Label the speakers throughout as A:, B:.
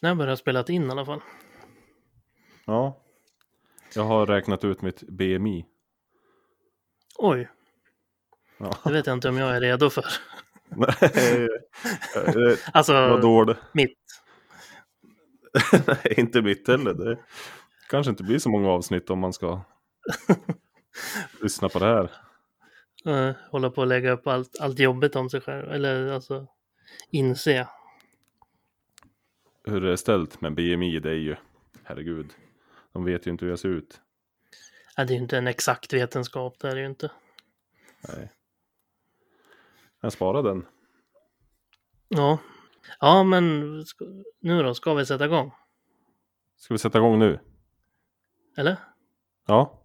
A: När började jag spela in i alla fall?
B: Ja. Jag har räknat ut mitt BMI.
A: Oj,
B: Ja.
A: det vet jag inte om jag är redo för.
B: Nej, eh,
A: Alltså,
B: vad dåligt.
A: mitt.
B: Nej, inte mitt heller. Det kanske inte blir så många avsnitt om man ska lyssna på det här.
A: eh, hålla på att lägga upp allt, allt jobbet om sig själv. Eller alltså, inse.
B: Hur det är ställt med BMI, det är ju, herregud. De vet ju inte hur jag ser ut.
A: Ja, det är ju inte en exakt vetenskap, det är det ju inte.
B: Nej. Jag sparar den.
A: Ja, ja men ska, nu då, ska vi sätta igång?
B: Ska vi sätta igång nu?
A: Eller?
B: Ja,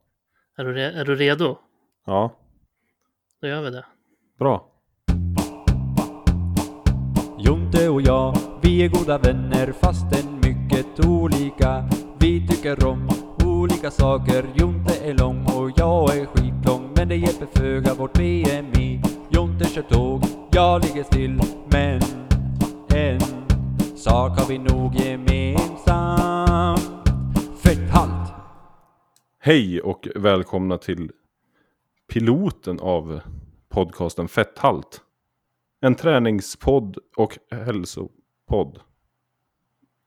A: Är du, re- är du redo?
B: ja,
A: Då gör vi det.
B: bra.
C: Jonte och jag, vi är goda vänner fastän mycket olika. Vi tycker om olika saker. Jonte är lång och jag är skitlång. Men det hjälper föga vårt BMI. Jonte kör tåg, jag ligger still. Men en sak har vi nog gemensamt. Fetthalt!
B: Hej och välkomna till piloten av podcasten Fetthalt. En träningspodd och hälsopodd.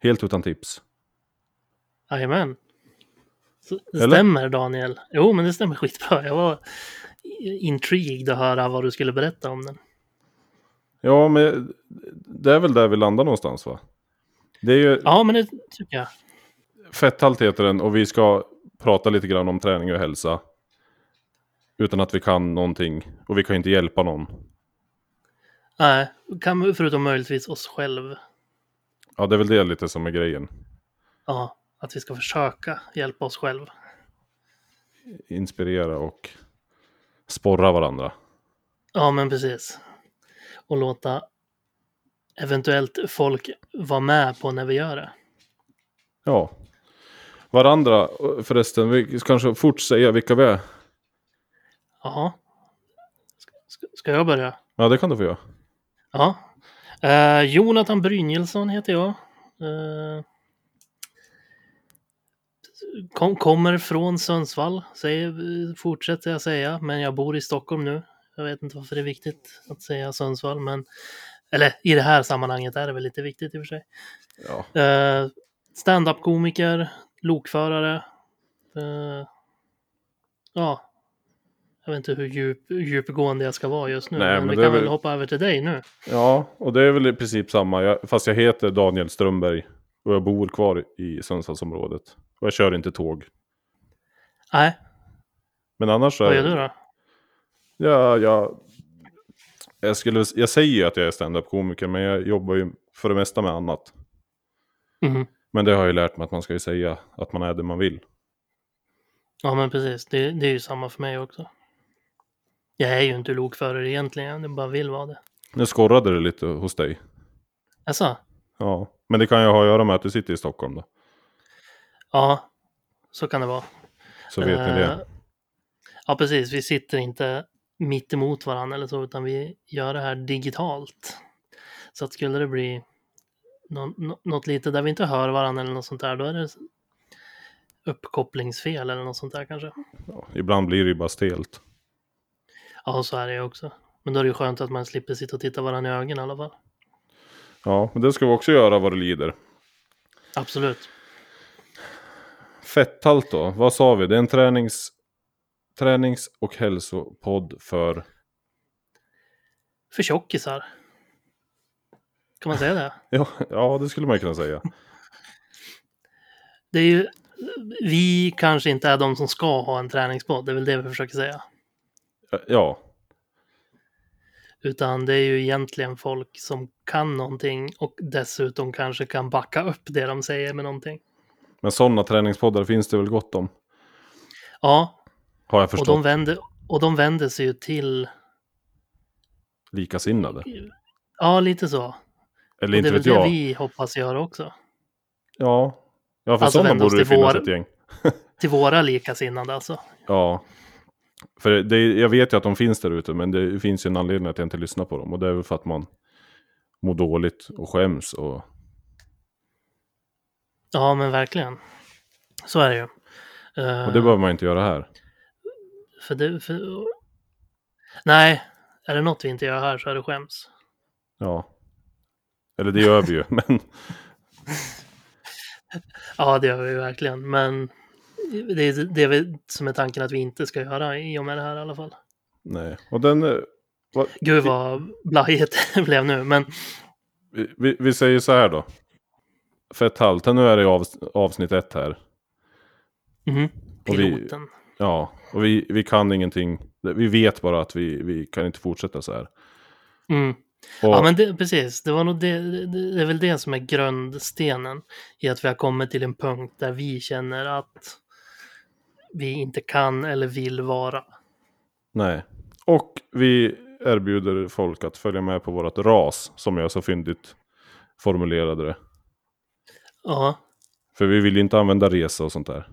B: Helt utan tips.
A: Jajamän. Så- Det
B: Eller?
A: stämmer Daniel. Jo, men det stämmer skitbra. Jag var i- intrigued att höra vad du skulle berätta om den.
B: Ja, men det är väl där vi landar någonstans va? Det är ju
A: Ja, men det tycker jag.
B: Fetthalt heter den och vi ska prata lite grann om träning och hälsa. Utan att vi kan någonting och vi kan ju inte hjälpa någon.
A: Nej, kan, förutom möjligtvis oss själv.
B: Ja, det är väl det lite som är grejen.
A: Ja, att vi ska försöka hjälpa oss själv.
B: Inspirera och sporra varandra.
A: Ja, men precis. Och låta eventuellt folk vara med på när vi gör det.
B: Ja. Varandra, förresten, vi kanske fort säga vilka vi är.
A: Jaha. Ska, ska jag börja?
B: Ja, det kan du få göra.
A: Ja. Eh, Jonathan Brynjelsson heter jag. Eh, kom, kommer från Sundsvall, säger, fortsätter jag säga, men jag bor i Stockholm nu. Jag vet inte varför det är viktigt att säga Sundsvall, men eller i det här sammanhanget är det väl lite viktigt i och för sig.
B: Ja.
A: Eh, Stand-up-komiker, lokförare. Eh, ja, jag vet inte hur djup, djupgående jag ska vara just nu,
B: Nej,
A: men,
B: men
A: vi
B: det
A: kan
B: är väl-
A: väl hoppa över till dig nu.
B: ja, och det är väl i princip samma. Jag, fast jag heter Daniel Strömberg och jag bor kvar i Sundsvallsområdet. Och jag kör inte tåg.
A: Nej,
B: Men annars så
A: Vad
B: är
A: gör du då?
B: Ja, jag, jag, skulle, jag säger ju att jag är stand-up-komiker, men jag jobbar ju för det mesta med annat.
A: Mhm.
B: Men det har jag ju lärt mig att man ska ju säga att man är det man vill.
A: Ja men precis, det, det är ju samma för mig också. Jag är ju inte lokförare egentligen, jag bara vill vara det.
B: Nu skorrade det lite hos dig.
A: Alltså,
B: Ja, men det kan ju ha att göra med att du sitter i Stockholm då.
A: ja, så kan det vara.
B: Så vet ni
A: Eh,
B: det.
A: Ja precis, vi sitter inte mitt emot varandra eller så, utan vi gör det här digitalt. Så att skulle det bli nå- nå- något lite där vi inte hör varandra eller något sånt där, då är det uppkopplingsfel eller något sånt där kanske.
B: Ja, ibland blir det ju bara stelt.
A: Ja, så är det ju också. Men då är det ju skönt att man slipper sitta och titta varandra i ögonen i alla fall.
B: Ja, men det ska vi också göra vad det lider.
A: Absolut.
B: Fetthalt då, vad sa vi? Det är en tränings, tränings och hälsopodd för...
A: för tjockisar. Kan man säga det?
B: Ja, ja, det skulle man ju kunna säga.
A: Det är ju, vi kanske inte är de som ska ha en träningspodd, det är väl det vi försöker säga.
B: Eh, Ja,
A: Utan det är ju egentligen folk som kan någonting och dessutom kanske kan backa upp det de säger med någonting.
B: men sådana träningspoddar finns det väl gott om.
A: Ja,
B: Har jag
A: och
B: förstått.
A: de, vänder, och de vänder sig ju till,
B: Likasinnade.
A: ja lite så.
B: Eller
A: Och det
B: inte
A: är väl
B: vet
A: det
B: jag.
A: vi hoppas göra också.
B: Ja. Ja, för
A: Alltså
B: sådana
A: vända oss
B: borde det
A: till
B: finnas
A: vår-
B: ett gäng.
A: Till våra likasinnade alltså.
B: Ja. För det, jag vet ju att de finns där ute, men det finns ju en anledning att jag inte lyssnar på dem. Och det är väl för att man mår dåligt och skäms och
A: Ja, men verkligen. Så är det ju. Eh,
B: Och det behöver man inte göra här.
A: för det, för... Nej, är det något vi inte gör här så är det skäms.
B: Ja. Eller det gör vi ju, men
A: Ja, det gör vi verkligen, men det är det är väl som är tanken att vi inte ska göra i och med det här i alla fall.
B: nej. Och den... eh, vad-
A: Gud vad blajigt det blev nu, men
B: Vi- Vi, vi säger så här då. Fetthalten, nu är det i avs- avsnitt ett här.
A: mhm.
B: Och vi-
A: piloten.
B: Ja, och vi, vi kan ingenting. Vi vet bara att vi, vi kan inte fortsätta så här.
A: Mm.
B: Och,
A: Ja, men det, precis. Det, var nog det, det, det är väl det som är grundstenen i att vi har kommit till en punkt där vi känner att vi inte kan eller vill vara.
B: Nej. Och vi erbjuder folk att följa med på vårt ras, som jag så fyndigt formulerade det.
A: Ja,
B: För vi vill ju inte använda resa och sånt där.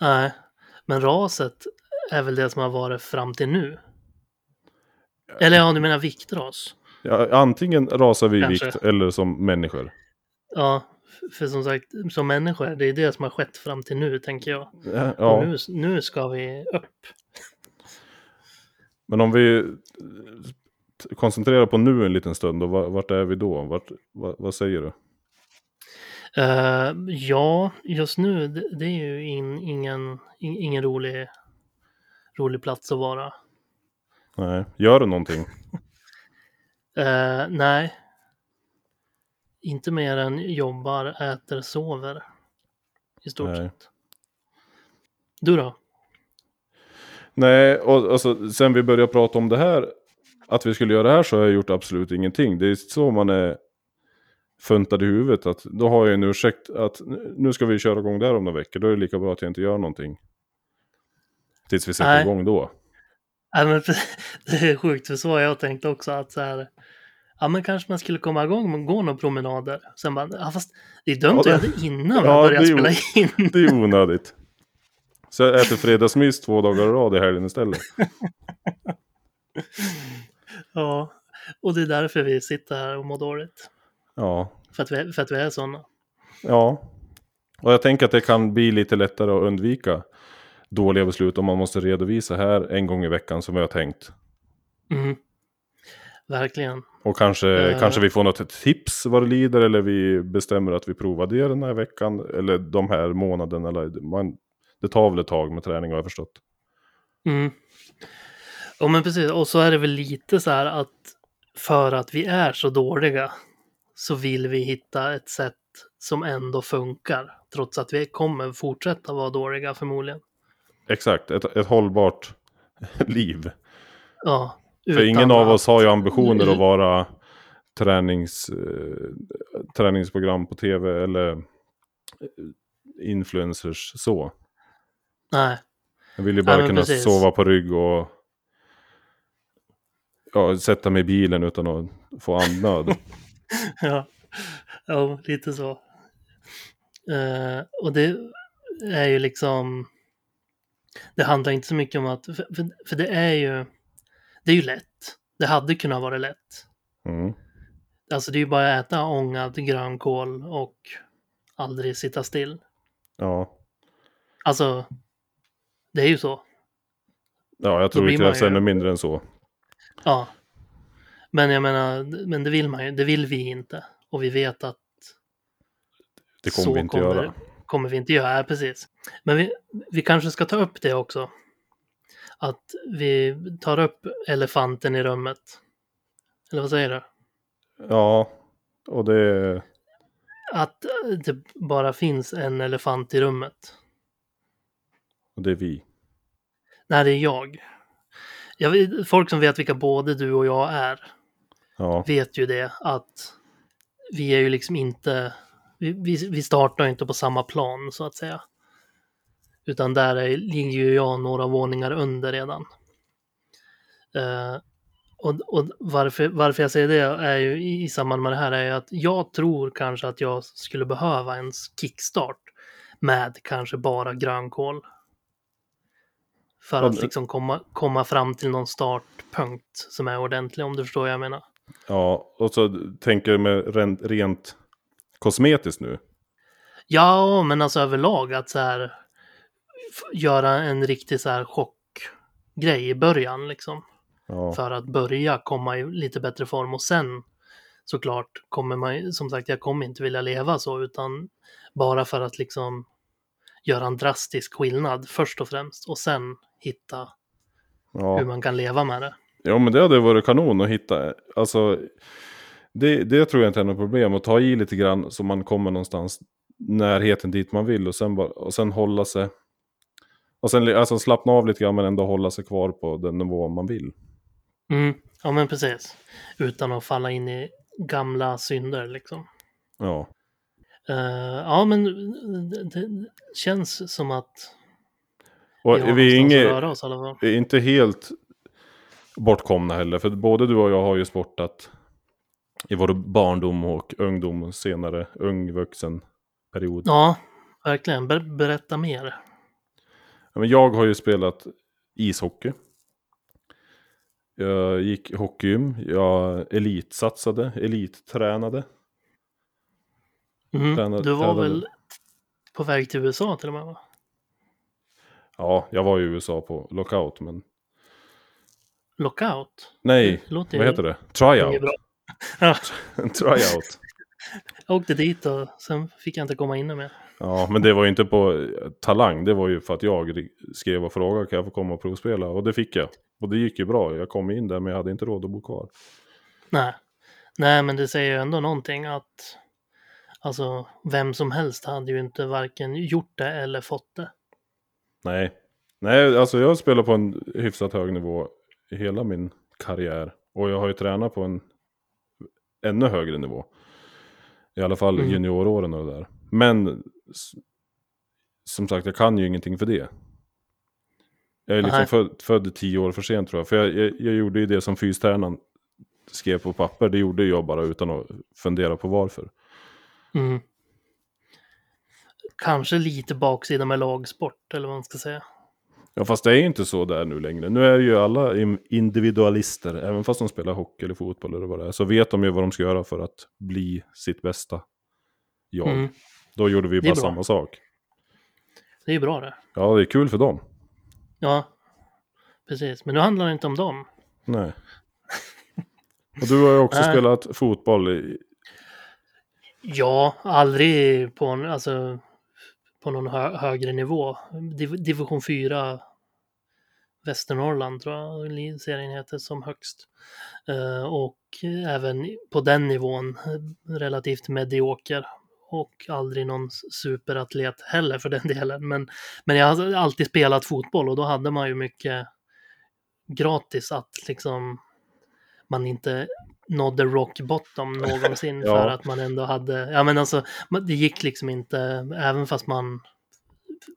A: nej. Men raset är väl det som har varit fram till nu? Eller ja, du menar viktras?
B: Ja, antingen rasar vi i
A: Kanske.
B: vikt eller som människor.
A: Ja, f- för som sagt, som människor, det är det som har skett fram till nu, tänker jag.
B: Ja,
A: Och
B: ja.
A: nu, nu ska vi upp.
B: Men om vi eh, t- koncentrerar på nu en liten stund, då, va- vart är vi då? Vart, va, vad säger du?
A: Eh, ja, just nu, det, det är ju in, ingen, in, ingen rolig, rolig plats att vara.
B: Nej, gör du någonting?
A: Eh, nej. Inte mer än jobbar, äter, sover. I stort
B: Nej.
A: sett. Du då?
B: Nej, och alltså, sen vi började prata om det här, att vi skulle göra det här så har jag gjort absolut ingenting. Det är så man är funtad i huvudet, att då har jag en ursäkt att n- nu ska vi köra igång där om några veckor, då är det lika bra att jag inte gör någonting. Tills vi sätter
A: Nej.
B: igång då.
A: Ja, men, det är sjukt, för så har jag tänkt också att så här, ja men kanske man skulle komma igång med gå några promenader. Sen bara, ja, fast det är dumt
B: Ja,
A: att göra
B: det-
A: det innan vi
B: Ja,
A: börjar
B: det är
A: spela in.
B: Det är ju onödigt. Så jag äter fredagsmys två dagar i rad i helgen istället.
A: Ja, och det är därför vi sitter här och mår dåligt.
B: Ja,
A: För att vi, för att vi är sådana.
B: Ja, och jag tänker att det kan bli lite lättare att undvika dåliga beslut om man måste redovisa här en gång i veckan som vi har tänkt.
A: Mm. Verkligen.
B: Och kanske,
A: Eh.
B: kanske vi får något tips vad det lider eller vi bestämmer att vi provar det den här veckan eller de här månaderna. Eller man, det tar väl ett tag med träning har jag förstått.
A: Mm. Ja, men precis. Och så är det väl lite så här att för att vi är så dåliga så vill vi hitta ett sätt som ändå funkar. Trots att vi kommer fortsätta vara dåliga förmodligen.
B: Exakt, ett, ett hållbart liv.
A: Ja,
B: För
A: utan
B: ingen av
A: att-
B: oss har ju ambitioner att
A: Mm.
B: vara tränings, eh, träningsprogram på tv eller eh, influencers så.
A: Nej,
B: Jag vill ju bara
A: men
B: kunna
A: precis.
B: sova på rygg och ja, sätta mig i bilen utan att få andnöd.
A: ja. ja lite så. Eh, och det är ju liksom... Det handlar inte så mycket om att... För, för, för det är ju... Det är ju lätt. Det hade kunnat vara lätt.
B: Mm.
A: Alltså det är ju bara att äta ångad grönkål och aldrig sitta still.
B: Ja.
A: Alltså, det är ju så.
B: ja, jag tror
A: blir
B: det
A: man
B: krävs
A: ju-
B: ännu mindre än så.
A: Ja. Men jag menar, men det vill man ju, det vill vi inte. Och vi vet att
B: Det kommer
A: så
B: vi inte
A: kommer,
B: göra.
A: kommer vi inte göra, ja, precis. Men vi, vi kanske ska ta upp det också. Att vi tar upp elefanten i rummet. Eller vad säger du?
B: Ja, och det...
A: Att det bara finns en elefant i rummet.
B: och det är vi.
A: Nej, det är jag. jag vet, folk som vet vilka både du och jag är
B: Ja,
A: vet ju det att vi är ju liksom inte, vi, vi, vi startar ju inte på samma plan så att säga. Utan där är, ligger ju jag några våningar under redan. Eh, och och varför, varför jag säger det är ju i, i samband med det här är ju att jag tror kanske att jag skulle behöva en kickstart med kanske bara grönkål. För
B: Ja,
A: att
B: men-
A: liksom komma, komma fram till någon startpunkt som är ordentlig om du förstår vad jag menar.
B: ja och så tänker jag med rent, rent kosmetiskt nu.
A: Ja, men alltså överlag att så här f- göra en riktig så här chockgrej i början liksom.
B: Ja,
A: För att börja komma i lite bättre form och sen såklart kommer man ju- som sagt jag kommer inte vilja leva så utan bara för att liksom göra en drastisk skillnad först och främst och sen hitta hur
B: ja.
A: man kan leva med det.
B: ja men det hade varit kanon att hitta. Alltså, det, det tror jag inte är något problem. Att ta i lite grann så man kommer någonstans närheten dit man vill och sen, bara, och sen hålla sig. Och sen li- alltså, slappna av lite grann men ändå hålla sig kvar på den nivå man vill.
A: Mm, ja men precis. Utan att falla in i gamla synder liksom.
B: Ja,
A: Eh, ja men det, det känns som att
B: och
A: vi har
B: vi är
A: någonstans
B: inget...
A: att röra oss i alla fall.
B: är inte helt bortkomna heller. För både du och jag har ju sportat i vår barndom och ungdom och senare ung vuxen period.
A: Ja, verkligen. Ber- berätta mer.
B: Ja, Men jag har ju spelat ishockey. Jag gick hockeygym, jag elitsatsade, elittränade.
A: Mhm.
B: Träna-
A: du var
B: träna-
A: väl på väg till USA till och med? Va?
B: Ja, jag var i USA på lockout, men
A: Lockout?
B: nej,
A: Det låter
B: vad
A: ju-
B: heter det?
A: Inget
B: Tryout.
A: bra. Ja,
B: Tryout.
A: jag åkte dit och sen fick jag inte komma in mer.
B: Ja, men det var ju inte på eh, talang. Det var ju för att jag ri- skrev och frågade kan jag få komma och provspela? Och det fick jag. Och det gick ju bra. Jag kom in där men jag hade inte råd att bo kvar.
A: Nej. Nej, men det säger ju ändå någonting att alltså, vem som helst hade ju inte varken gjort det eller fått det.
B: Nej. Nej, alltså jag spelar på en hyfsat hög nivå i hela min karriär. Och jag har ju tränat på en ännu högre nivå. I alla fall
A: Mm.
B: junioråren och det där. Men s- som sagt, jag kan ju ingenting för det. Jag är liksom
A: Nej.
B: född, född tio år för sent tror jag. För jag, jag, jag gjorde ju det som fystränaren skrev på papper. Det gjorde jag bara utan att fundera på varför.
A: Mm. Kanske lite baksida med lagsport eller vad man ska säga.
B: Ja, fast det är ju inte så där nu längre. Nu är ju alla im- individualister, även fast de spelar hockey eller fotboll eller vad det är, så vet de ju vad de ska göra för att bli sitt bästa jag.
A: Mm.
B: Då gjorde vi
A: Det är
B: bara
A: bra.
B: samma sak.
A: Det är ju bra det.
B: Ja, det är kul för dem.
A: Ja, precis. Men nu handlar det inte om dem.
B: Nej. Och du har ju också
A: Nej.
B: spelat fotboll. I...
A: Ja, aldrig på, en, alltså, på någon hö högre nivå. Div division 4 Västernorrland tror jag li- serien heter som högst. Eh, och även på den nivån eh, relativt medioker. Och aldrig någon s- superatlet heller för den delen. Men, men jag har alltid spelat fotboll och då hade man ju mycket gratis att liksom man inte nådde rock bottom någonsin
B: Ja.
A: för att man ändå hade, ja men alltså man- det gick liksom inte, även fast man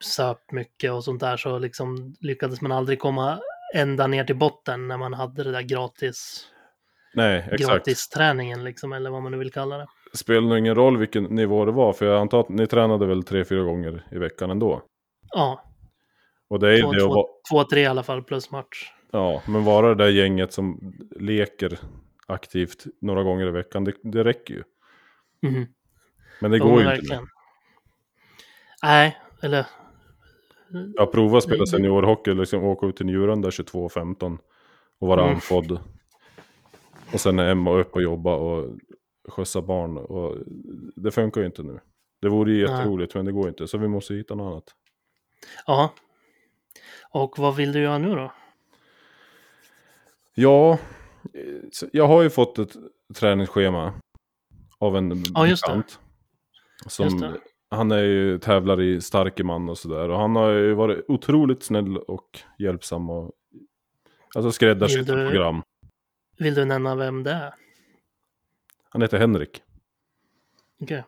A: söp mycket och sånt där så liksom lyckades man aldrig komma ända ner till botten när man hade det där gratis,
B: Nej, exakt.
A: gratisträningen liksom, eller vad man nu vill kalla det.
B: Det spelar nog ingen roll vilken nivå det var, för jag antar att ni tränade väl tre, fyra gånger i veckan ändå.
A: Ja,
B: Och det är ju
A: två,
B: det att
A: två,
B: va-
A: två, tre i alla fall plus match.
B: Ja, men vara det där gänget som leker aktivt några gånger i veckan, det, det räcker ju.
A: Mm.
B: Men det går ju inte.
A: verkligen. Nej, eller
B: Jag provade att spela
A: Det- det-
B: seniorhockey, liksom åka ut till Njuren där 22-15 och vara
A: Mm.
B: andfådd. Och sen hem och upp och jobba och skjutsa barn. Och det funkar ju inte nu. Det vore ju
A: Nej.
B: jätteroligt, men det går inte. Så vi måste hitta något annat.
A: ja. Och vad vill du göra nu då?
B: Ja, eh, så jag har ju fått ett träningsschema av en
A: Ja, just det.
B: Som,
A: Just det.
B: Han är ju tävlar i Starkeman och sådär. Och han har ju varit otroligt snäll och hjälpsam. Och, alltså skräddarsytt
A: Vill du-
B: program.
A: Vill du nämna vem det är?
B: Han heter Henrik.
A: Okej.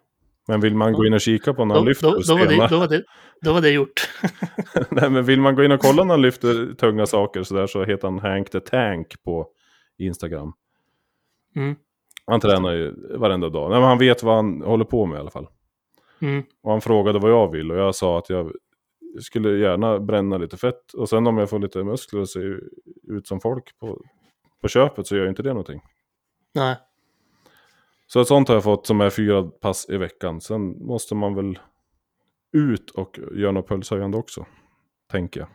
B: Men vill man gå in och kika på när han
A: Då,
B: lyfter
A: då, då, var det,
B: stenar-
A: då, var det, då var det gjort.
B: Nej, men vill man gå in och kolla när han lyfter tunga saker sådär så heter han Hank the Tank på Instagram.
A: Mm.
B: Han tränar ju varenda dag. Nej, men han vet vad han håller på med i alla fall.
A: Mm.
B: Och han frågade vad jag vill och jag sa att jag skulle gärna bränna lite fett. Och sen om jag får lite muskler och ser ut som folk på, på köpet så gör ju inte det någonting.
A: Nej.
B: Så ett sånt har jag fått som är fyra pass i veckan. Sen måste man väl ut och gör något pulshöjande också. Tänker jag.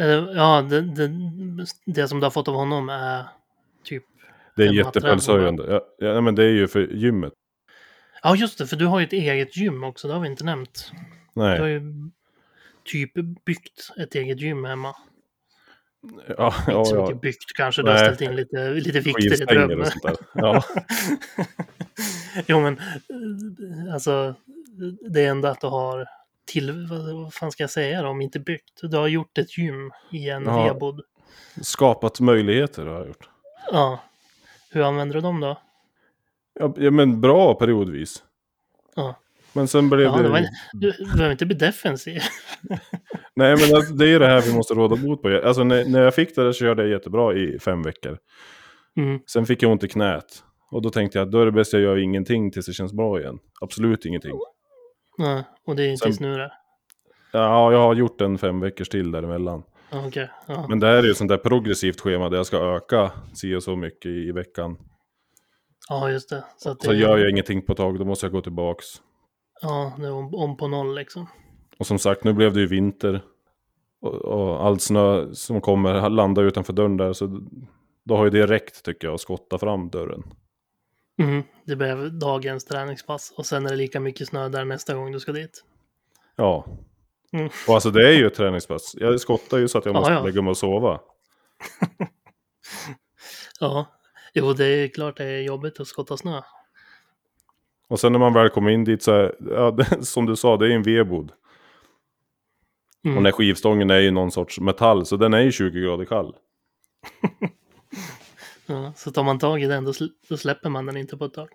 A: Eh, Ja, det, det, det som du har fått av honom är typ...
B: Det är
A: Hemma
B: jättepulshöjande. Ja, ja, men det är ju för gymmet.
A: Ja, just det, för du har ju ett eget gym också, det har vi inte nämnt. Du har
B: Nej.
A: ju typ byggt ett eget gym hemma.
B: Ja, ja,
A: inte så
B: ja.
A: mycket byggt kanske, du har
B: Nej.
A: ställt in lite, lite vikter i ett
B: Skivstänger
A: rum.
B: och sånt där. Ja.
A: jo, men eh, alltså, det är ändå att du har till, vad vad fan ska jag säga då, om inte byggt? Du har gjort ett gym i en
B: Ja.
A: vedbod.
B: Skapat möjligheter har jag gjort.
A: Ja. Hur använder du dem då?
B: Ja, ja, men bra periodvis.
A: Ja.
B: Men sen blev
A: Ja,
B: det...
A: det var en... Du du behöver inte bli defensiv.
B: Nej, men alltså, det är ju det här vi måste råda bot på. Alltså, när, när jag fick det där så körde jag jättebra i fem veckor.
A: Mm.
B: Sen fick jag ont i knät. Och då tänkte jag att då är det bäst jag gör ingenting tills det känns bra igen. Absolut ingenting.
A: Ja, och det är
B: Sen-
A: tills nu det.
B: Ja, jag har gjort en fem veckors till däremellan.
A: Ja, okej. Ja.
B: Men det här är ju ett sånt där progressivt schema där jag ska öka si och så mycket i veckan.
A: ja, just det. Så, att det,
B: Så gör jag ingenting på ett tag, då måste jag gå tillbaks.
A: Ja, det är om, om på noll liksom.
B: Och som sagt, nu blev det ju vinter. Och, och allt snö som kommer landar utanför dörren där. Så då har ju det räckt tycker jag, att skotta fram dörren.
A: Mm. Det blev dagens träningspass och sen är det lika mycket snö där nästa gång du ska dit.
B: Ja.
A: Mm.
B: Och alltså det är ju ett träningspass. Jag skottar ju så att jag
A: Ja,
B: måste
A: ja.
B: lägga mig och sova.
A: Ja, jo, det är klart det är jobbigt att skotta snö.
B: Och sen när man väl kommer in dit så är, ja, det, som du sa, det är en vedbod.
A: Mm.
B: Och den här skivstången är ju någon sorts metall, så den är ju 20 grader kall.
A: Ja, så tar man tag i den, då, sl- då släpper man den inte på ett tag.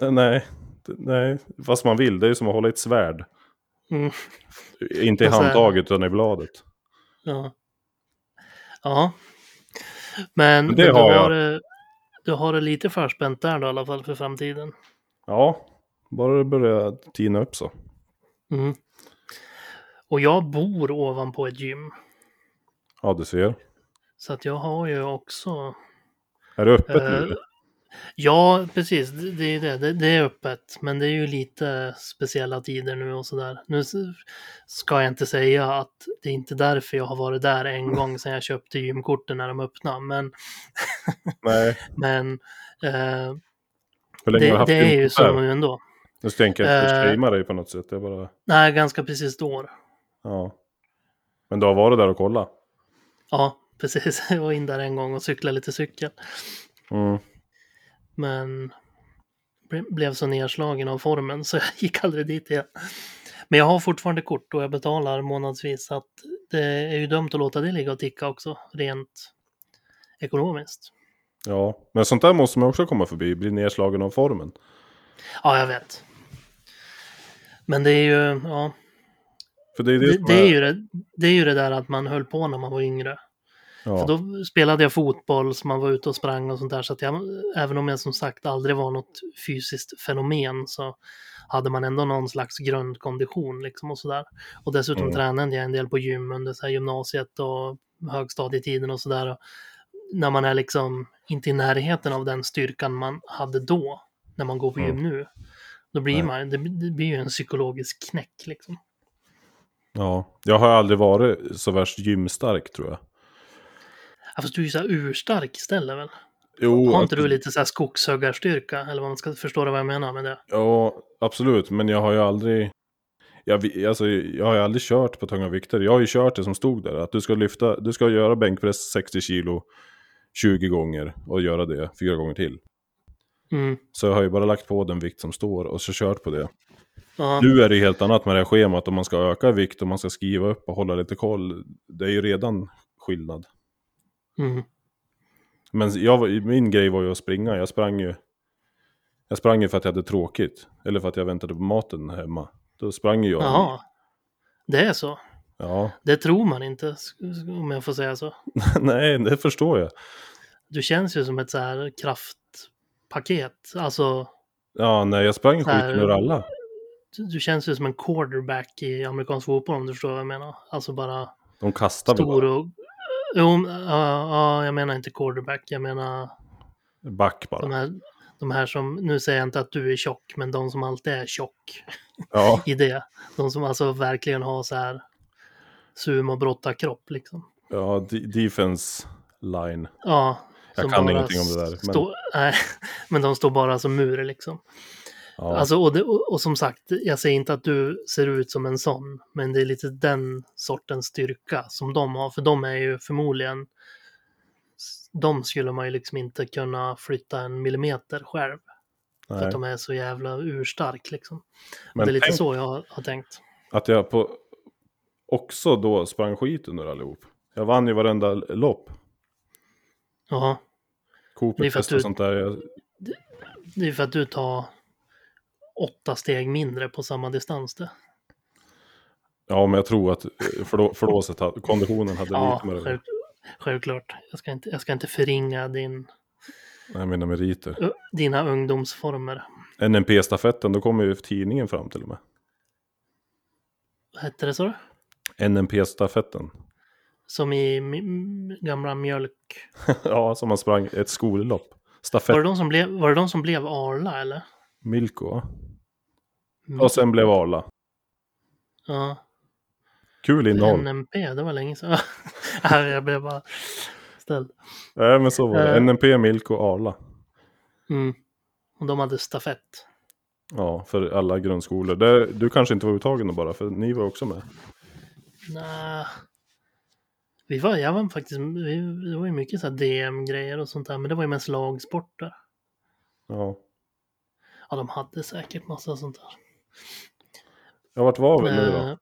B: N- Nej, d- nej, fast man vill. Det är ju som att hålla i ett svärd.
A: Mm.
B: Inte i
A: Och så-
B: handtaget utan i bladet.
A: Ja. ja. Men,
B: Men det
A: men du,
B: har jag.
A: har, eh, du har det lite förspänt där då i alla fall för framtiden.
B: Ja, bara det börjar tina upp så.
A: Mm. Och jag bor ovanpå ett gym.
B: Ja, du ser.
A: Så att jag har ju också...
B: Är det öppet
A: eh,
B: nu?
A: ja, precis. Det, det är det. det. Det är öppet. Men det är ju lite speciella tider nu och sådär. Nu s- ska jag inte säga att det är inte därför jag har varit där en gång sedan jag köpte gymkorten när de öppnade. Men,
B: Nej,
A: men eh,
B: hur länge har du
A: det,
B: haft
A: det är ju
B: gymkort där?
A: så nu ändå.
B: Nu tänker jag inte
A: Eh,
B: shamea dig på något sätt. Jag bara,
A: Nej, ganska precis ett år.
B: ja. Men du har varit där och kollat?
A: Ja, precis. Jag var in där en gång och cyklade lite cykel.
B: Mm.
A: Men ble- blev så nedslagen av formen så jag gick aldrig dit igen. Men jag har fortfarande kort och jag betalar månadsvis så att det är ju dumt att låta det ligga och ticka också rent ekonomiskt.
B: Ja, men sånt där måste man också komma förbi. Bli nedslagen av formen.
A: Ja, jag vet. Men det är ju, ja,
B: För det är det,
A: det,
B: som
A: det, är ju det, det är ju det där att man höll på när man var yngre.
B: ja.
A: För då spelade jag fotboll, så man var ute och sprang och sånt där. Så att jag, även om jag som sagt aldrig var något fysiskt fenomen så hade man ändå någon slags grundkondition liksom och sådär. Och dessutom
B: Mm.
A: tränade jag en del på gym under så här gymnasiet och högstadietiden och sådär. Och När man är liksom inte i närheten av den styrkan man hade då, när man går på gym
B: Mm.
A: nu, då blir
B: Nej.
A: man, det, det blir ju en psykologisk knäck liksom.
B: Ja, jag har aldrig varit så värst gymstark tror jag.
A: Ja, fast du är ju så här urstark istället väl?
B: Jo,
A: Har inte
B: att-
A: du lite så här skogshögarstyrka? Eller vad man ska förstå vad jag menar med det.
B: Ja, absolut, men jag har ju aldrig... Jag, vi- alltså, jag har ju aldrig kört på tunga vikter. Jag har ju kört det som stod där, att du ska lyfta, du ska göra bänkpress 60 kilo 20 gånger och göra det fyra gånger till.
A: Mm.
B: Så jag har ju bara lagt på den vikt som står och så kört på det.
A: Ja,
B: Nu är det ju helt annat med det här schemat, om man ska öka vikt och man ska skriva upp och hålla lite koll. Det är ju redan skillnad.
A: mm.
B: Men jag, var- min grej var ju att springa. Jag sprang ju jag sprang ju för att jag hade tråkigt. Eller för att jag väntade på maten hemma. Då sprang ju jag.
A: Jaha. Det är så.
B: Ja,
A: Det tror man inte, sk- sk- om jag får säga så.
B: nej, det förstår jag.
A: Du känns ju som ett så här kraftpaket. Alltså,
B: Ja, nej, jag sprang
A: Så här-
B: skiten ur alla.
A: du, du känns ju som en quarterback i amerikansk fotboll om du förstår vad jag menar. Alltså bara
B: De kastade väl
A: stor
B: bara.
A: och... Jo, ja, ja, jag menar inte quarterback. Jag menar
B: Back
A: de
B: bara.
A: här, de här som, nu säger jag inte att du är tjock, men de som alltid är tjock
B: Ja,
A: i det. De som alltså verkligen har så här sumobrottarkropp liksom.
B: ja de- defense line.
A: Ja.
B: Jag
A: som
B: kan
A: bara
B: ingenting om det där, men-
A: Stå, nej, men de står bara som mur liksom.
B: Ja,
A: Alltså, och, det, och, och som sagt, jag säger inte att du ser ut som en sån, men det är lite den sortens styrka som de har, för de är ju förmodligen, de skulle man ju liksom inte kunna flytta en millimeter själv, för
B: nej.
A: att de är så jävla urstark liksom. Och
B: Men
A: det är lite
B: tänk
A: så jag har, har tänkt.
B: att jag på, också då sprang skiten ur allihop. Jag vann ju varenda lopp.
A: Ja, Det är
B: Cooper
A: för att
B: test och
A: du-
B: sånt där. Jag,
A: det är för att du tar åtta steg mindre på samma distans det.
B: ja, men jag tror att eh, förlå- förlåset, hade- konditionen hade
A: Ja,
B: lite med det.
A: själv, självklart. Jag ska inte, jag ska inte förringa din,
B: Jag menar meriter.
A: ö, dina ungdomsformer.
B: NNP-stafetten, då kommer ju tidningen fram till och med.
A: Vad hette det så?
B: NNP-stafetten.
A: Som i m- m- gamla mjölk.
B: ja, som man sprang ett skollopp.
A: Var det
B: Stafett,
A: de som blev, var det de som blev Arla eller?
B: Milko, va? Mm. Och sen blev Arla.
A: Ja,
B: Kul innehåll.
A: NMP, det var länge sedan. Ja, jag blev bara ställd.
B: Nej, men så var det.
A: Eh.
B: NNP, Milko, Arla.
A: Mm. Och de hade stafett.
B: Ja, för alla grundskolor. Det, du kanske inte var uttagen då bara, för ni var också med.
A: Nä. Vi var, jag var faktiskt, vi, det var ju mycket så här DM-grejer och sånt där, men det var ju mest lagsporter.
B: Ja.
A: Ja, de hade säkert massa sånt där.
B: Jag vart var vi nu då?
A: Eh,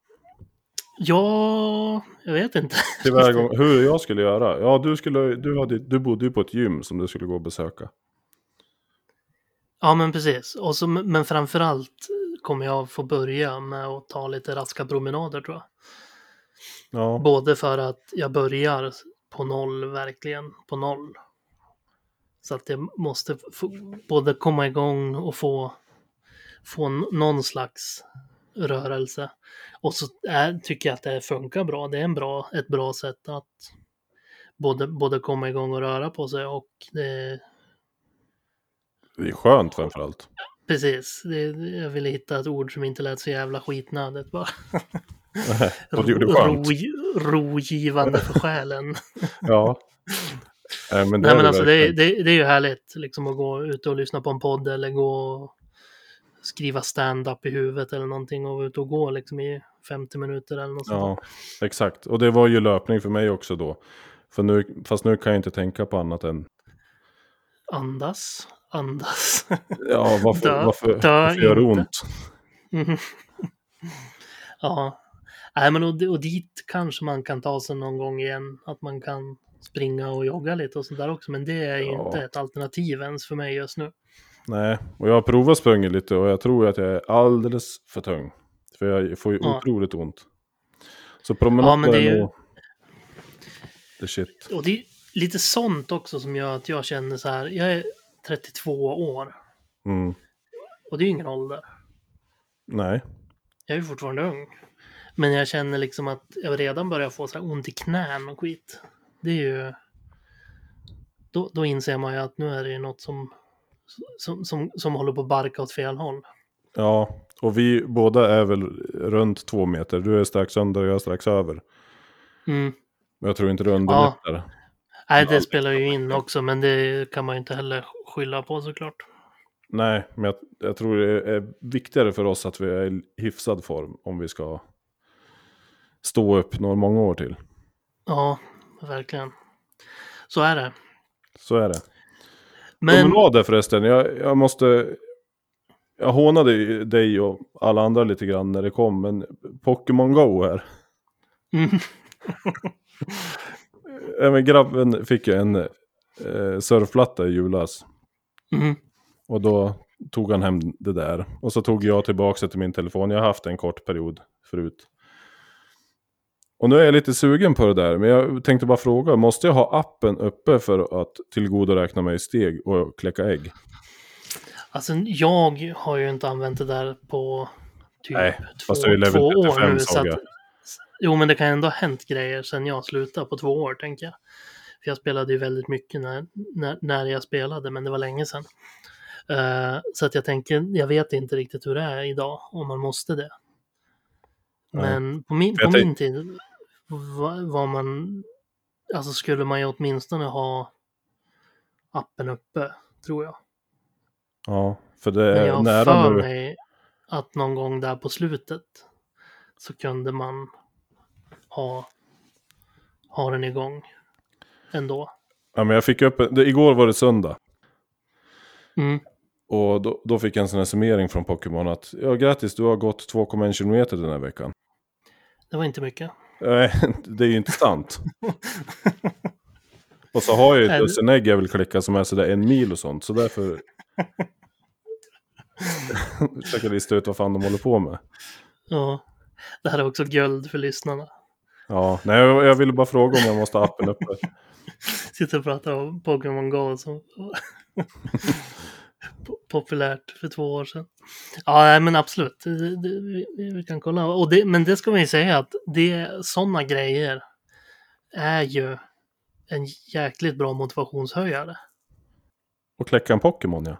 A: ja, jag vet inte.
B: Tillvägagång, hur jag skulle göra? Ja, du, skulle, du, hade, du bodde ju på ett gym som du skulle gå och besöka.
A: Ja, men precis. Och så, men framförallt kommer jag få börja med att ta lite raska promenader tror jag.
B: Ja,
A: Både för att jag börjar på noll, verkligen på noll. Så att jag måste få, både komma igång och få, få n- någon slags rörelse. Och så är, tycker jag att det funkar bra. Det är en bra, ett bra sätt att både, både komma igång och röra på sig och det,
B: det är skönt framförallt.
A: precis, det, jag ville hitta ett ord som inte lät så jävla skitnödigt bara.
B: Och det gjorde skönt.
A: Ro- rogivande för själen.
B: Ja. Nej, men det
A: Nej
B: är
A: men
B: det
A: alltså det, är-
B: verkligen.
A: det, det är ju härligt liksom att gå ut och lyssna på en podd eller gå och skriva stand-up i huvudet eller någonting och vara ute och gå liksom i 50 minuter eller något sånt
B: Ja, exakt. Och det var ju löpning för mig också då. För nu, fast nu kan jag inte tänka på annat än...
A: där. Andas, andas.
B: Ja, varför,
A: Dö-
B: varför,
A: dö
B: varför gör det
A: inte.
B: ont?
A: Mhm. ja. Nej men och, och dit kanske man kan ta sig någon gång igen. Att man kan springa och jogga lite och sånt där också. Men det är ju
B: Ja.
A: inte ett alternativ ens för mig just nu.
B: Nej, och jag har provat sprungit lite och jag tror att jag är alldeles för tung. För jag får ju
A: Ja.
B: otroligt ont. Så promenader
A: men det är
B: är
A: ju-
B: nog... The shit.
A: Och det är lite sånt också som gör att jag känner så här. Jag är 32 år
B: Mm.
A: och det är ju ingen ålder.
B: Nej.
A: Jag är ju fortfarande ung. Men jag känner liksom att jag redan börjar få så här ont i knän och skit. Det är ju... Då, då inser man ju att nu är det ju något som, som, som, som håller på att barka åt fel håll.
B: Ja, och vi båda är väl runt två meter. Du är strax under och jag är strax över.
A: Mm.
B: Men jag tror inte det underlättar.
A: Nej, det spelar ju in också, men det kan man ju inte heller skylla på såklart.
B: Nej, men jag, jag tror det är viktigare för oss att vi är i hyfsad form om vi ska stå upp några många år till.
A: Ja, verkligen. Så är det.
B: Så är det.
A: Men
B: Promenader förresten, jag, jag måste... Jag hånade ju dig och alla andra lite grann när det kom, men Pokémon Go här.
A: Mm.
B: Äh, men grabben fick ju en eh, surfplatta i julas.
A: Mm.
B: Och då tog han hem det där. Och så tog jag tillbaka det till min telefon. Jag har haft en kort period förut. Och nu är jag lite sugen på det där. Men jag tänkte bara fråga. Måste jag ha appen uppe för att tillgodoräkna mig steg och kläcka ägg?
A: alltså, jag har ju inte använt det där på typ
B: Nej,
A: två,
B: fast jag är level
A: två år
B: 35,
A: nu. Så
B: såg
A: att,
B: jag.
A: jo, men det kan ändå ha hänt grejer sedan jag slutade på två år, tänker jag. För jag spelade ju väldigt mycket när, när, när jag spelade, men det var länge sedan. Eh, så att jag tänker, jag vet inte riktigt hur det är idag, om man måste det.
B: Nej.
A: Men på min,
B: Jag
A: på min tid var, var man, alltså skulle man ju åtminstone ha appen uppe, tror jag.
B: Ja, för det
A: Men
B: är
A: jag har
B: Eh, nära
A: för
B: nu.
A: mig att någon gång där på slutet så kunde man ha, ha den igång ändå.
B: Ja, men jag fick upp, det, igår var det söndag.
A: Mm.
B: Och då, då fick jag en sån här summering från Pokémon att ja, grattis, du har gått 2,1 kilometer den här veckan.
A: Det var inte mycket.
B: Nej, det är ju inte sant. och så har jag ju
A: Nej,
B: ett
A: det-
B: dussinägg jag vill klicka som är sådär en mil och sånt, så därför... Försöker lista ut vad fan de håller på med.
A: Ja. Det här är också guld för lyssnarna.
B: Ja, nej, jag, jag ville bara fråga om jag måste ha appen uppe.
A: Sitter och pratar om Pokémon Go som po- populärt för två år sedan. Ja, nej, men absolut. Det, det, vi, vi- vi kan kolla. Och det, men det ska man ju säga att det sådana grejer är ju en jäkligt bra motivationshöjare.
B: Och kläcka en Pokémon, ja.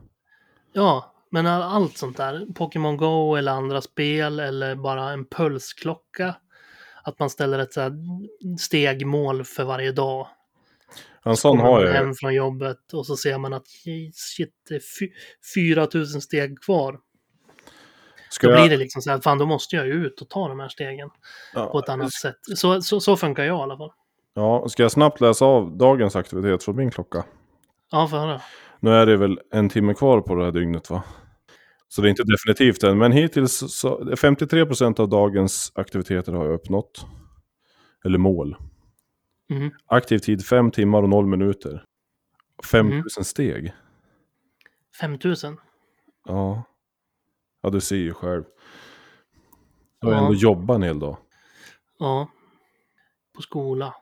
A: Ja, men all- allt sånt där. Pokémon Go eller andra spel eller bara en pulsklocka. Att man ställer ett så här stegmål för varje dag
B: En sån
A: kommer
B: har
A: man
B: jag ju.
A: hem från jobbet och så ser man att "J- shit, det är fy- 4000 steg kvar.
B: Ska
A: Då
B: jag-
A: blir det liksom så här, fan då måste jag ju ut och ta de här stegen
B: ja,
A: på ett annat sätt. Så, så, så funkar jag i alla fall.
B: Ja, ska jag snabbt läsa av dagens aktivitet från min klocka?
A: Ja, får höra.
B: Nu är det väl en timme kvar på det här dygnet va? Så det är inte definitivt än, men hittills så 53% av dagens aktiviteter har jag uppnått. Eller mål.
A: Mhm.
B: Aktiv tid 5 timmar och 0 minuter. 5000
A: Mm.
B: steg.
A: 5000.
B: Ja. Ja, du ser ju själv. Jag har
A: Ja.
B: ändå jobbat en hel dag.
A: Ja. På skola.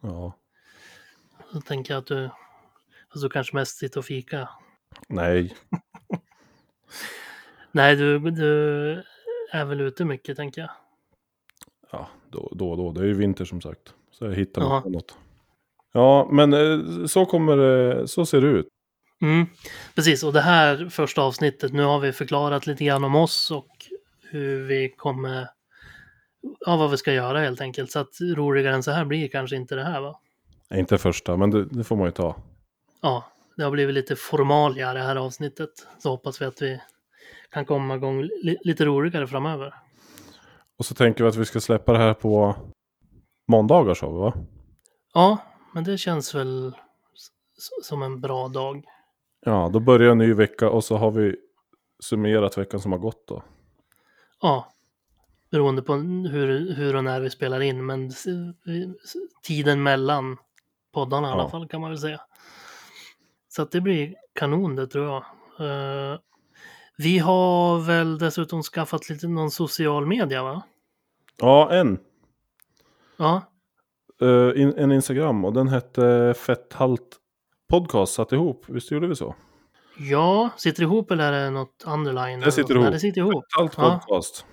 B: Ja.
A: Så tänker jag att du, fast du kanske mest sitter och fika.
B: Nej.
A: Nej, du, du är väl ute mycket tänker jag.
B: Ja, då då. då. Det är ju vinter som sagt. Så jag hittar
A: Ja.
B: ja. något. Ja, men eh, så kommer det, så ser det ut.
A: Mm, precis, och det här första avsnittet, nu har vi förklarat lite grann om oss och hur vi kommer, ja vad vi ska göra helt enkelt. Så att roligare än så här blir kanske inte det här va?
B: Nej, inte första, men det, det får man ju ta.
A: Ja, det har blivit lite formalia det här avsnittet. Så hoppas vi att vi kan komma igång li- lite roligare framöver.
B: Och så tänker vi att vi ska släppa det här på måndagar sa vi va?
A: Ja, men det känns väl s- som en bra dag.
B: Ja, då börjar en ny vecka och så har vi summerat veckan som har gått då.
A: Ja, beroende på hur, hur och när vi spelar in, men s- vi- s- tiden mellan poddarna i alla
B: Ja.
A: fall kan man väl säga. Så att det blir kanon det tror jag. Eh, vi har väl dessutom skaffat lite någon social media va?
B: Ja, en.
A: Ja,
B: Eh, in, en Instagram och den hette Fetthalt Podcast satt ihop. Visst gjorde vi så?
A: ja sitter ihop eller är det något underline? eller något?
B: sitter
A: Nej,
B: ihop.
A: Det sitter ihop.
B: Fetthalt
A: Ja.
B: Podcast.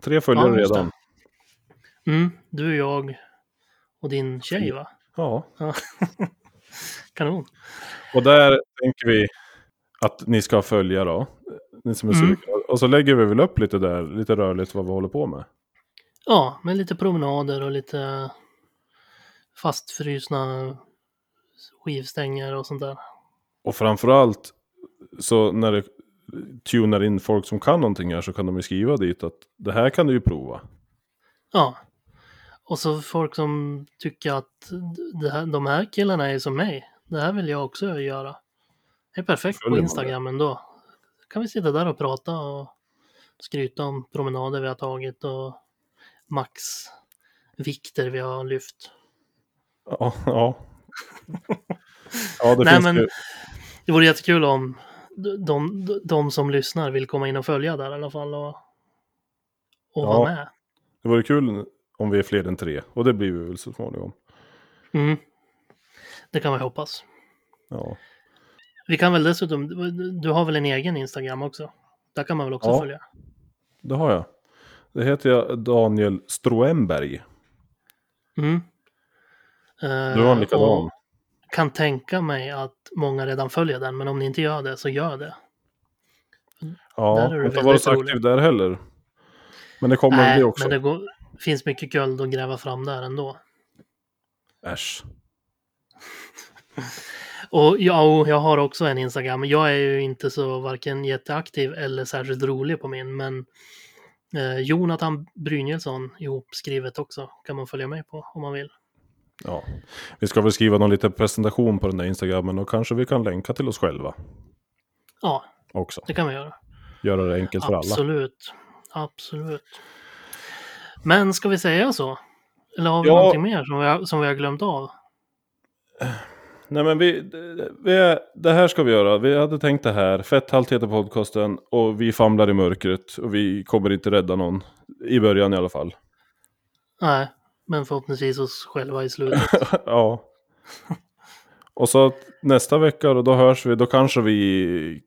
B: Tre följare
A: Ja, just
B: redan.
A: det. Mm, du, jag och din tjej va?
B: Ja,
A: Kanon.
B: och där tänker vi att ni ska följa då. Ni som är
A: Mm.
B: sugna. Och så lägger vi väl upp lite där, lite rörligt vad vi håller på med.
A: Ja, med lite promenader och lite fastfrusna skivstänger och sånt där.
B: Och framförallt så när det tunar in folk som kan någonting här så kan de ju skriva dit att det här kan du ju prova.
A: Ja. Och så folk som tycker att det här, de här killarna är som mig. Det här vill jag också göra. Det är perfekt
B: Följer
A: på
B: man det?
A: Instagram ändå. kan vi sitta där och prata och skryta om promenader vi har tagit och maxvikter vi har lyft.
B: Ja, ja. ja det
A: Nej,
B: finns
A: men-
B: ju.
A: Det vore jättekul om de, de, de som lyssnar vill komma in och följa där i alla fall och, och
B: Ja.
A: vara med.
B: Det vore kul om vi är fler än tre. Och det blir vi väl så småningom.
A: Mm. Det kan man ju hoppas.
B: Ja,
A: Vi kan väl dessutom, du har väl en egen Instagram också? Där kan man väl också
B: Ja.
A: följa?
B: det har jag. Det heter jag Daniel Stroemberg.
A: Mm.
B: Du har en
A: Eh,
B: likadan.
A: och Kan tänka mig att många redan följer den, men om ni inte gör det så gör det.
B: Ja,
A: Där är du
B: jag har inte varit
A: väldigt
B: så aktiv
A: rolig.
B: där heller. Men det kommer väl
A: Nej,
B: det också.
A: men det går, finns mycket guld att gräva fram där ändå.
B: Äsch.
A: Och ja, och jag har också en Instagram. men Jag är ju inte så varken jätteaktiv eller särskilt rolig på min, men eh, Jonathan Brynjelsson ihopskrivet också kan man följa med på om man vill.
B: Ja. Vi ska väl skriva någon liten presentation på den där Instagrammen och kanske vi kan länka till oss själva
A: Ja,
B: också.
A: det kan vi göra.
B: Göra det enkelt för alla.
A: Absolut. Absolut. Men ska vi säga så? Eller har vi
B: Ja.
A: någonting mer som vi, har, som vi har glömt av?
B: Nej men vi, vi, det här ska vi göra. Vi hade tänkt det här. Fetthalt heter podcasten och vi famlar i mörkret och vi kommer inte rädda någon. I början i alla fall.
A: Nej, men förhoppningsvis oss själva i slutet.
B: ja. Och så att nästa vecka då, då hörs vi. Då kanske vi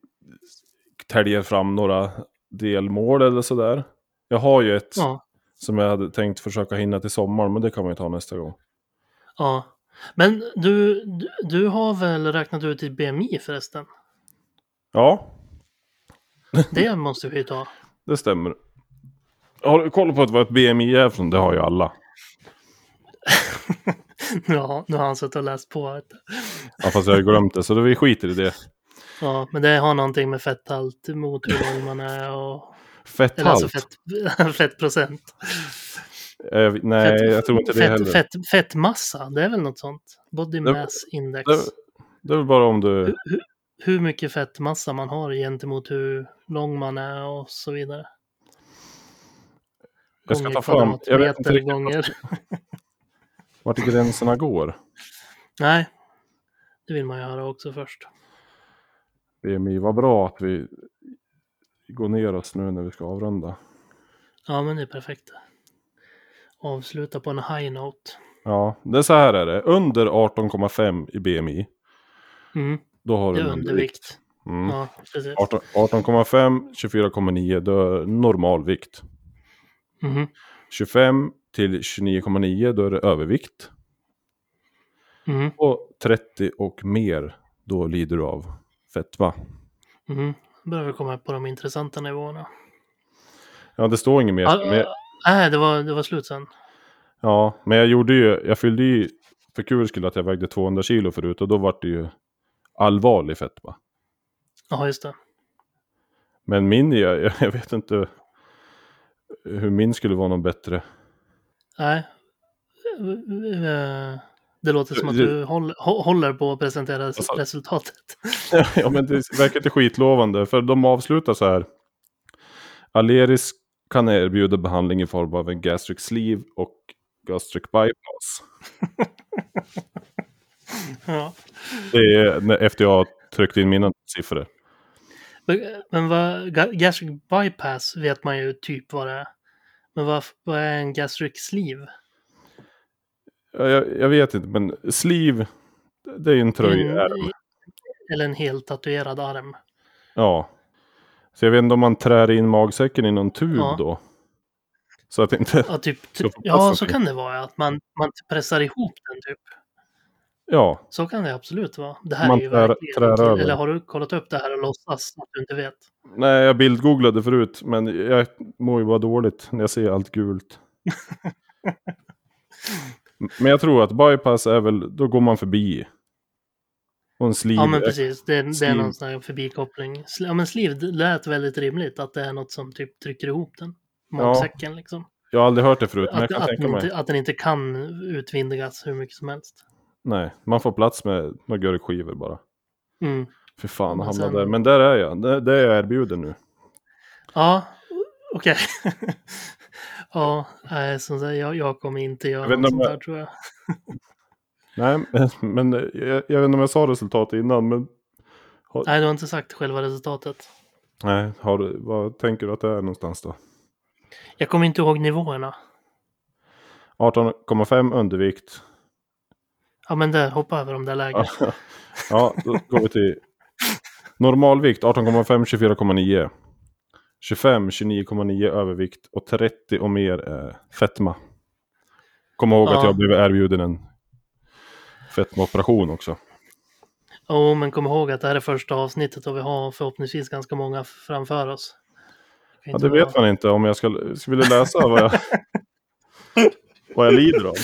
B: täljer fram några delmål eller sådär. Jag har ju ett
A: Ja,
B: som jag hade tänkt försöka hinna till sommaren men det kan man ju ta nästa gång.
A: ja. Men du, du, du har väl räknat ut ditt BMI förresten?
B: Ja,
A: Det måste vi ju ta.
B: det stämmer. Har du koll på att vad ett BMI är från? Det har ju alla.
A: Ja, nu har han suttit och läst på. vet du.
B: Ja, fast jag har ju glömt det så då vi skiter i det.
A: Ja, men det har någonting med fetthalt mot hur lång man är och... Eller
B: Fetthalt?
A: alltså fett, fettprocent.
B: Eh, vi- nej, jag tror inte det
A: fett,
B: heller.
A: Fett, fettmassa, det är väl något sånt? Body
B: Det-
A: mass index.
B: Det, det är väl bara om du...
A: Hur, hur mycket fettmassa man har gentemot hur lång man är och så vidare.
B: Jag ska
A: Gånger
B: ta fram... Jag vet inte
A: kvadratmeter
B: riktigt
A: gånger.
B: vart gränserna går.
A: Nej, det vill man ju höra också först.
B: BMI, vad bra att vi går ner oss nu när vi ska avrunda.
A: Ja, men det är perfekt. Avsluta på en high note.
B: Ja, det är så här är det. Under 18,5 i BMI,
A: Mm,
B: då har
A: det
B: du
A: är undervikt.
B: Mm.
A: Ja, precis.
B: 18 18,5, 24,9, då är normalvikt.
A: Mhm,
B: 25 till 29,9, då är det övervikt.
A: mhm,
B: Och 30 och mer, då lider du av fetma.
A: mhm. Då börjar vi komma upp på de intressanta nivåerna.
B: Ja, det står inget mer.
A: Ah,
B: men,
A: Nej, det var, det var slut sen.
B: ja, men jag gjorde ju, jag fyllde ju för kul skulle att jag vägde 200 kilo förut och då var det ju allvarlig fetma.
A: Ja, just det.
B: Men min, jag, jag vet inte hur min skulle vara någon bättre.
A: Nej. Eh, Det låter som att
B: Du-
A: du håller, hå- håller på att presentera res-
B: sa du?
A: resultatet.
B: ja, men det verkar inte skitlovande, för de avslutar så här. Aleris kan erbjuda behandling i form av en gastric sleeve och gastric bypass.
A: Ja.
B: Det är när- efter jag tryckte in mina siffror.
A: Men- Men vad, ga- gastric bypass vet man ju typ vad det är. Men vad, vad är en gastric sleeve?
B: Ja, Jag, jag vet inte, men sleeve, det är en tröja.
A: En- Eller en helt tatuerad arm.
B: Ja. Så jag vet inte om man trär in magsäcken i någon tub
A: Ja.
B: då. Så att inte...
A: Ja, typ,
B: Så får
A: ja
B: passa
A: så
B: sig.
A: kan det vara. Att man, man pressar ihop den typ.
B: Ja,
A: Så kan det absolut vara. Det här
B: Man
A: är ju
B: trär-
A: verkligen-
B: trär över.
A: Eller har du kollat upp det här och låtsas att du inte vet?
B: Nej, jag bildgooglade förut, men jag mår ju bara dåligt när jag ser allt gult. men jag tror att bypass är väl, då går man förbi. Och en sleeve.
A: Ja men precis, det, det är
B: Sleeve.
A: någon sån här förbikoppling. Sl- Ja men sleeve det lät väldigt rimligt att det är något som typ trycker ihop den. Magsäcken liksom.
B: Jag har aldrig hört det förut, men jag
A: Att,
B: kan
A: att,
B: tänka
A: den
B: mig.
A: inte, att den inte kan utvindigas hur mycket som helst.
B: Nej, man får plats med några gurkskivor bara.
A: Mm.
B: För fan,
A: Men
B: jag hamnade
A: sen-
B: där. Men där är jag, det, det är jag erbjuden nu.
A: Ja, okej. ja, nej, som sagt, jag, jag kommer inte göra
B: Jag vet
A: något
B: inte
A: sånt
B: om jag-
A: där tror jag.
B: Nej, men, men jag, jag vet inte om jag sa resultatet innan, men...
A: Nej, du har inte sagt själva resultatet.
B: Nej, har, du- vad tänker du att det är någonstans då?
A: Jag kommer inte ihåg nivåerna.
B: 18,5 undervikt.
A: Ja men där, hoppa över de där lägena.
B: Ja, då går vi till normalvikt 18,5, 24,9. 25, 29,9 övervikt och 30 och mer är fetma. Kom ihåg
A: Ja.
B: att jag blev erbjuden en fetmaoperation också.
A: Jo, men kom ihåg att det här är första avsnittet och vi har förhoppningsvis ganska många framför oss. kan
B: Ja,
A: inte
B: det vet
A: vara-
B: man inte om jag ska, skulle läsa vad jag, vad jag lider av.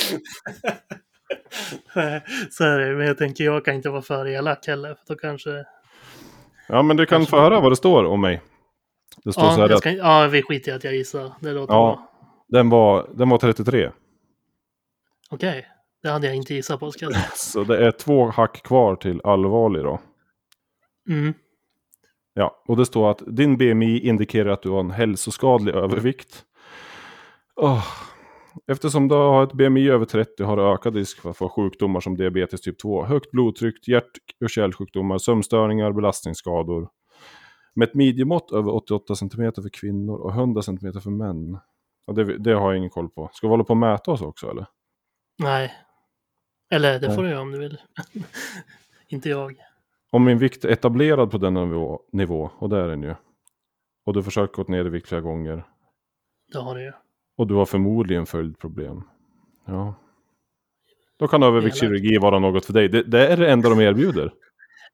A: Nej, Så är det, men jag tänker jag kan inte vara för elak heller. För då kanske...
B: Ja, men du kan få höra vad det står om mig. Det står så
A: Ja,
B: här
A: jag
B: att
A: ska... ja, vi skiter i att jag gissar. Det låter
B: Ja.
A: bra.
B: den var, den var 33.
A: Okej, det hade jag inte gissat på. Ska jag säga.
B: Så det är två hack kvar till allvarlig då.
A: Mm.
B: Ja, och det står att din BMI indikerar att du har en hälsoskadlig övervikt. Åh. Eftersom du har ett BMI över 30 har du ökad risk för att få sjukdomar som diabetes typ 2, högt blodtryck, hjärt och kärlsjukdomar, sömnstörningar, belastningsskador. Med ett midjemått över 88 cm för kvinnor och 100 cm för män. Ja, det, det har jag ingen koll på. Ska vi hålla på och mäta oss också eller?
A: Nej. Eller det
B: Nej.
A: får du göra om du vill. inte jag.
B: Om min vikt är etablerad på denna nivå, nivå och det är den ju. Och du försökt gått ner i vikt flera gånger.
A: Det har du ju.
B: Och du har förmodligen följdproblem. Ja. Då kan överviktskirurgi vara något för dig. Det, det är det enda de erbjuder.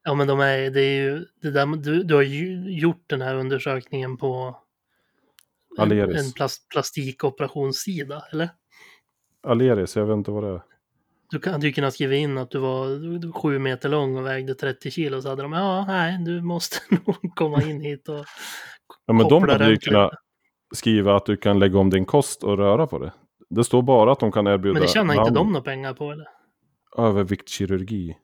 A: Ja, men de är, det är ju, det där, du, du har ju gjort den här undersökningen på en,
B: Aleris.
A: en plast, plastikoperationssida, eller?
B: Aleris, jag vet inte vad det är.
A: Du kan du kunna skriva in att du var du- du- sju meter lång och vägde 30 kilo, så hade de, ja, nej, du måste nog komma in hit och...
B: Ja, men de
A: Koppla
B: hade
A: den
B: ju
A: till-
B: kunnat skriva att du kan lägga om din kost och röra på det. Det står bara att de kan erbjuda
A: Men det tjänar inte de
B: behandling.
A: några pengar på, eller?
B: överviktskirurgi.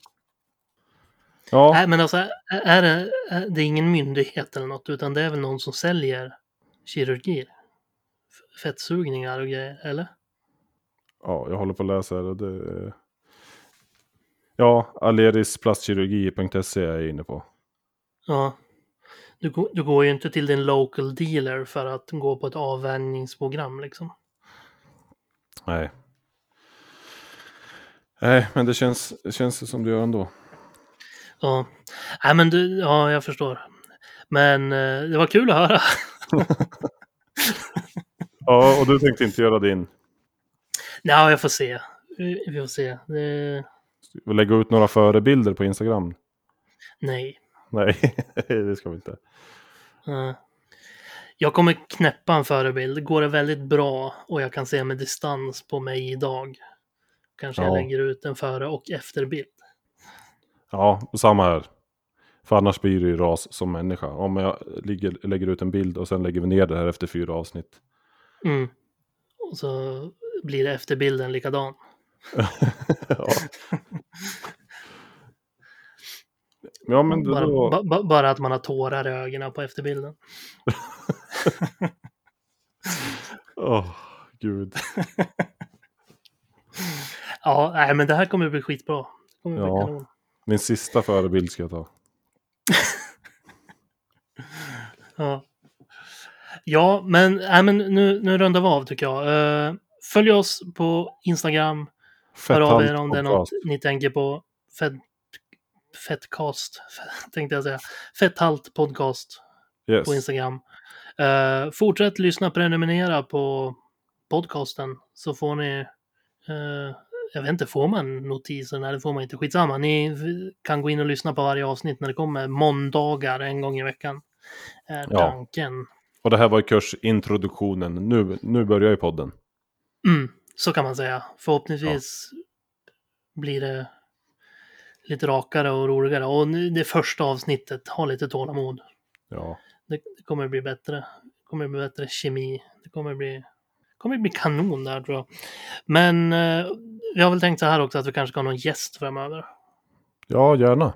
B: Ja,
A: Nej, men alltså, är- är det, är det är ingen myndighet eller något, utan det är väl någon som säljer kirurgi? F- Fettsugningar och grejer, eller?
B: ja, jag håller på att läsa här. och Det... Ja, alerisplastkirurgi.se är jag inne på.
A: Ja. Du, gå- du går ju inte till din local dealer för att gå på ett avvänjningsprogram liksom.
B: Nej. Nej, men det känns, det känns som du gör ändå.
A: Ja, Nej, men du, ja, jag förstår. Men eh, det var kul att höra.
B: Ja, och du tänkte inte göra din.
A: Ja, jag får se. Vi vi får se. Det,
B: Lägga ut några förebilder på Instagram.
A: nej.
B: Nej, det ska vi inte.
A: Eh, Jag kommer knäppa en förebild. Går det väldigt bra och jag kan se med distans på mig idag. Kanske jag
B: Ja.
A: lägger ut en före och efterbild.
B: Ja, och samma här. För annars blir det ju ras som människa. Om jag ligger, lägger ut en bild och sen lägger vi ner det här efter fyra avsnitt.
A: Mm. Och så blir efterbilden likadan.
B: ja. ja, men då...
A: bara, ba, ba, bara att man har tårar i ögonen på efterbilden.
B: Åh, gud.
A: Ja, nej, men det här kommer bli skitbra. Det kommer bli
B: Ja.
A: kanon.
B: Min sista förebild ska jag ta.
A: Ja, ja men, nej, men nu, nu rundar vi av tycker jag. Eh, följ oss på Instagram. Hör av er om det är något ni tänker på. Fed, fettcast, tänkte jag säga. Fetthalt podcast
B: Yes.
A: på Instagram. Eh, fortsätt lyssna, prenumerera på podcasten så får ni, eh, jag vet inte, får man notiser? Nej, det får man inte. Skitsamma, ni v- kan gå in och lyssna på varje avsnitt när det kommer. Måndagar en gång i veckan är
B: Ja.
A: tanken.
B: Och det här var ju kursintroduktionen. Nu, nu börjar ju podden.
A: Mm, så kan man säga. Förhoppningsvis blir det lite rakare och roligare. Och nu- det första avsnittet, ha lite tålamod.
B: Ja.
A: Det, det kommer bli bättre. Det kommer bli bättre kemi. Det kommer bli, det kommer bli kanon där tror jag. Men eh, vi har väl tänkt så här också att vi kanske ska ha någon gäst framöver.
B: ja, gärna.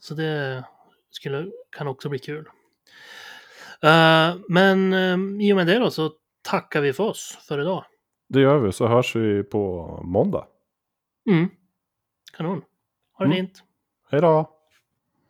A: Så det skulle, kan också bli kul. Eh, men eh, i och med det då så tackar vi för oss för idag.
B: Det gör vi, så hörs vi på måndag.
A: Mm. Kanon. Ha det
B: Mm.
A: fint.
B: Hej då!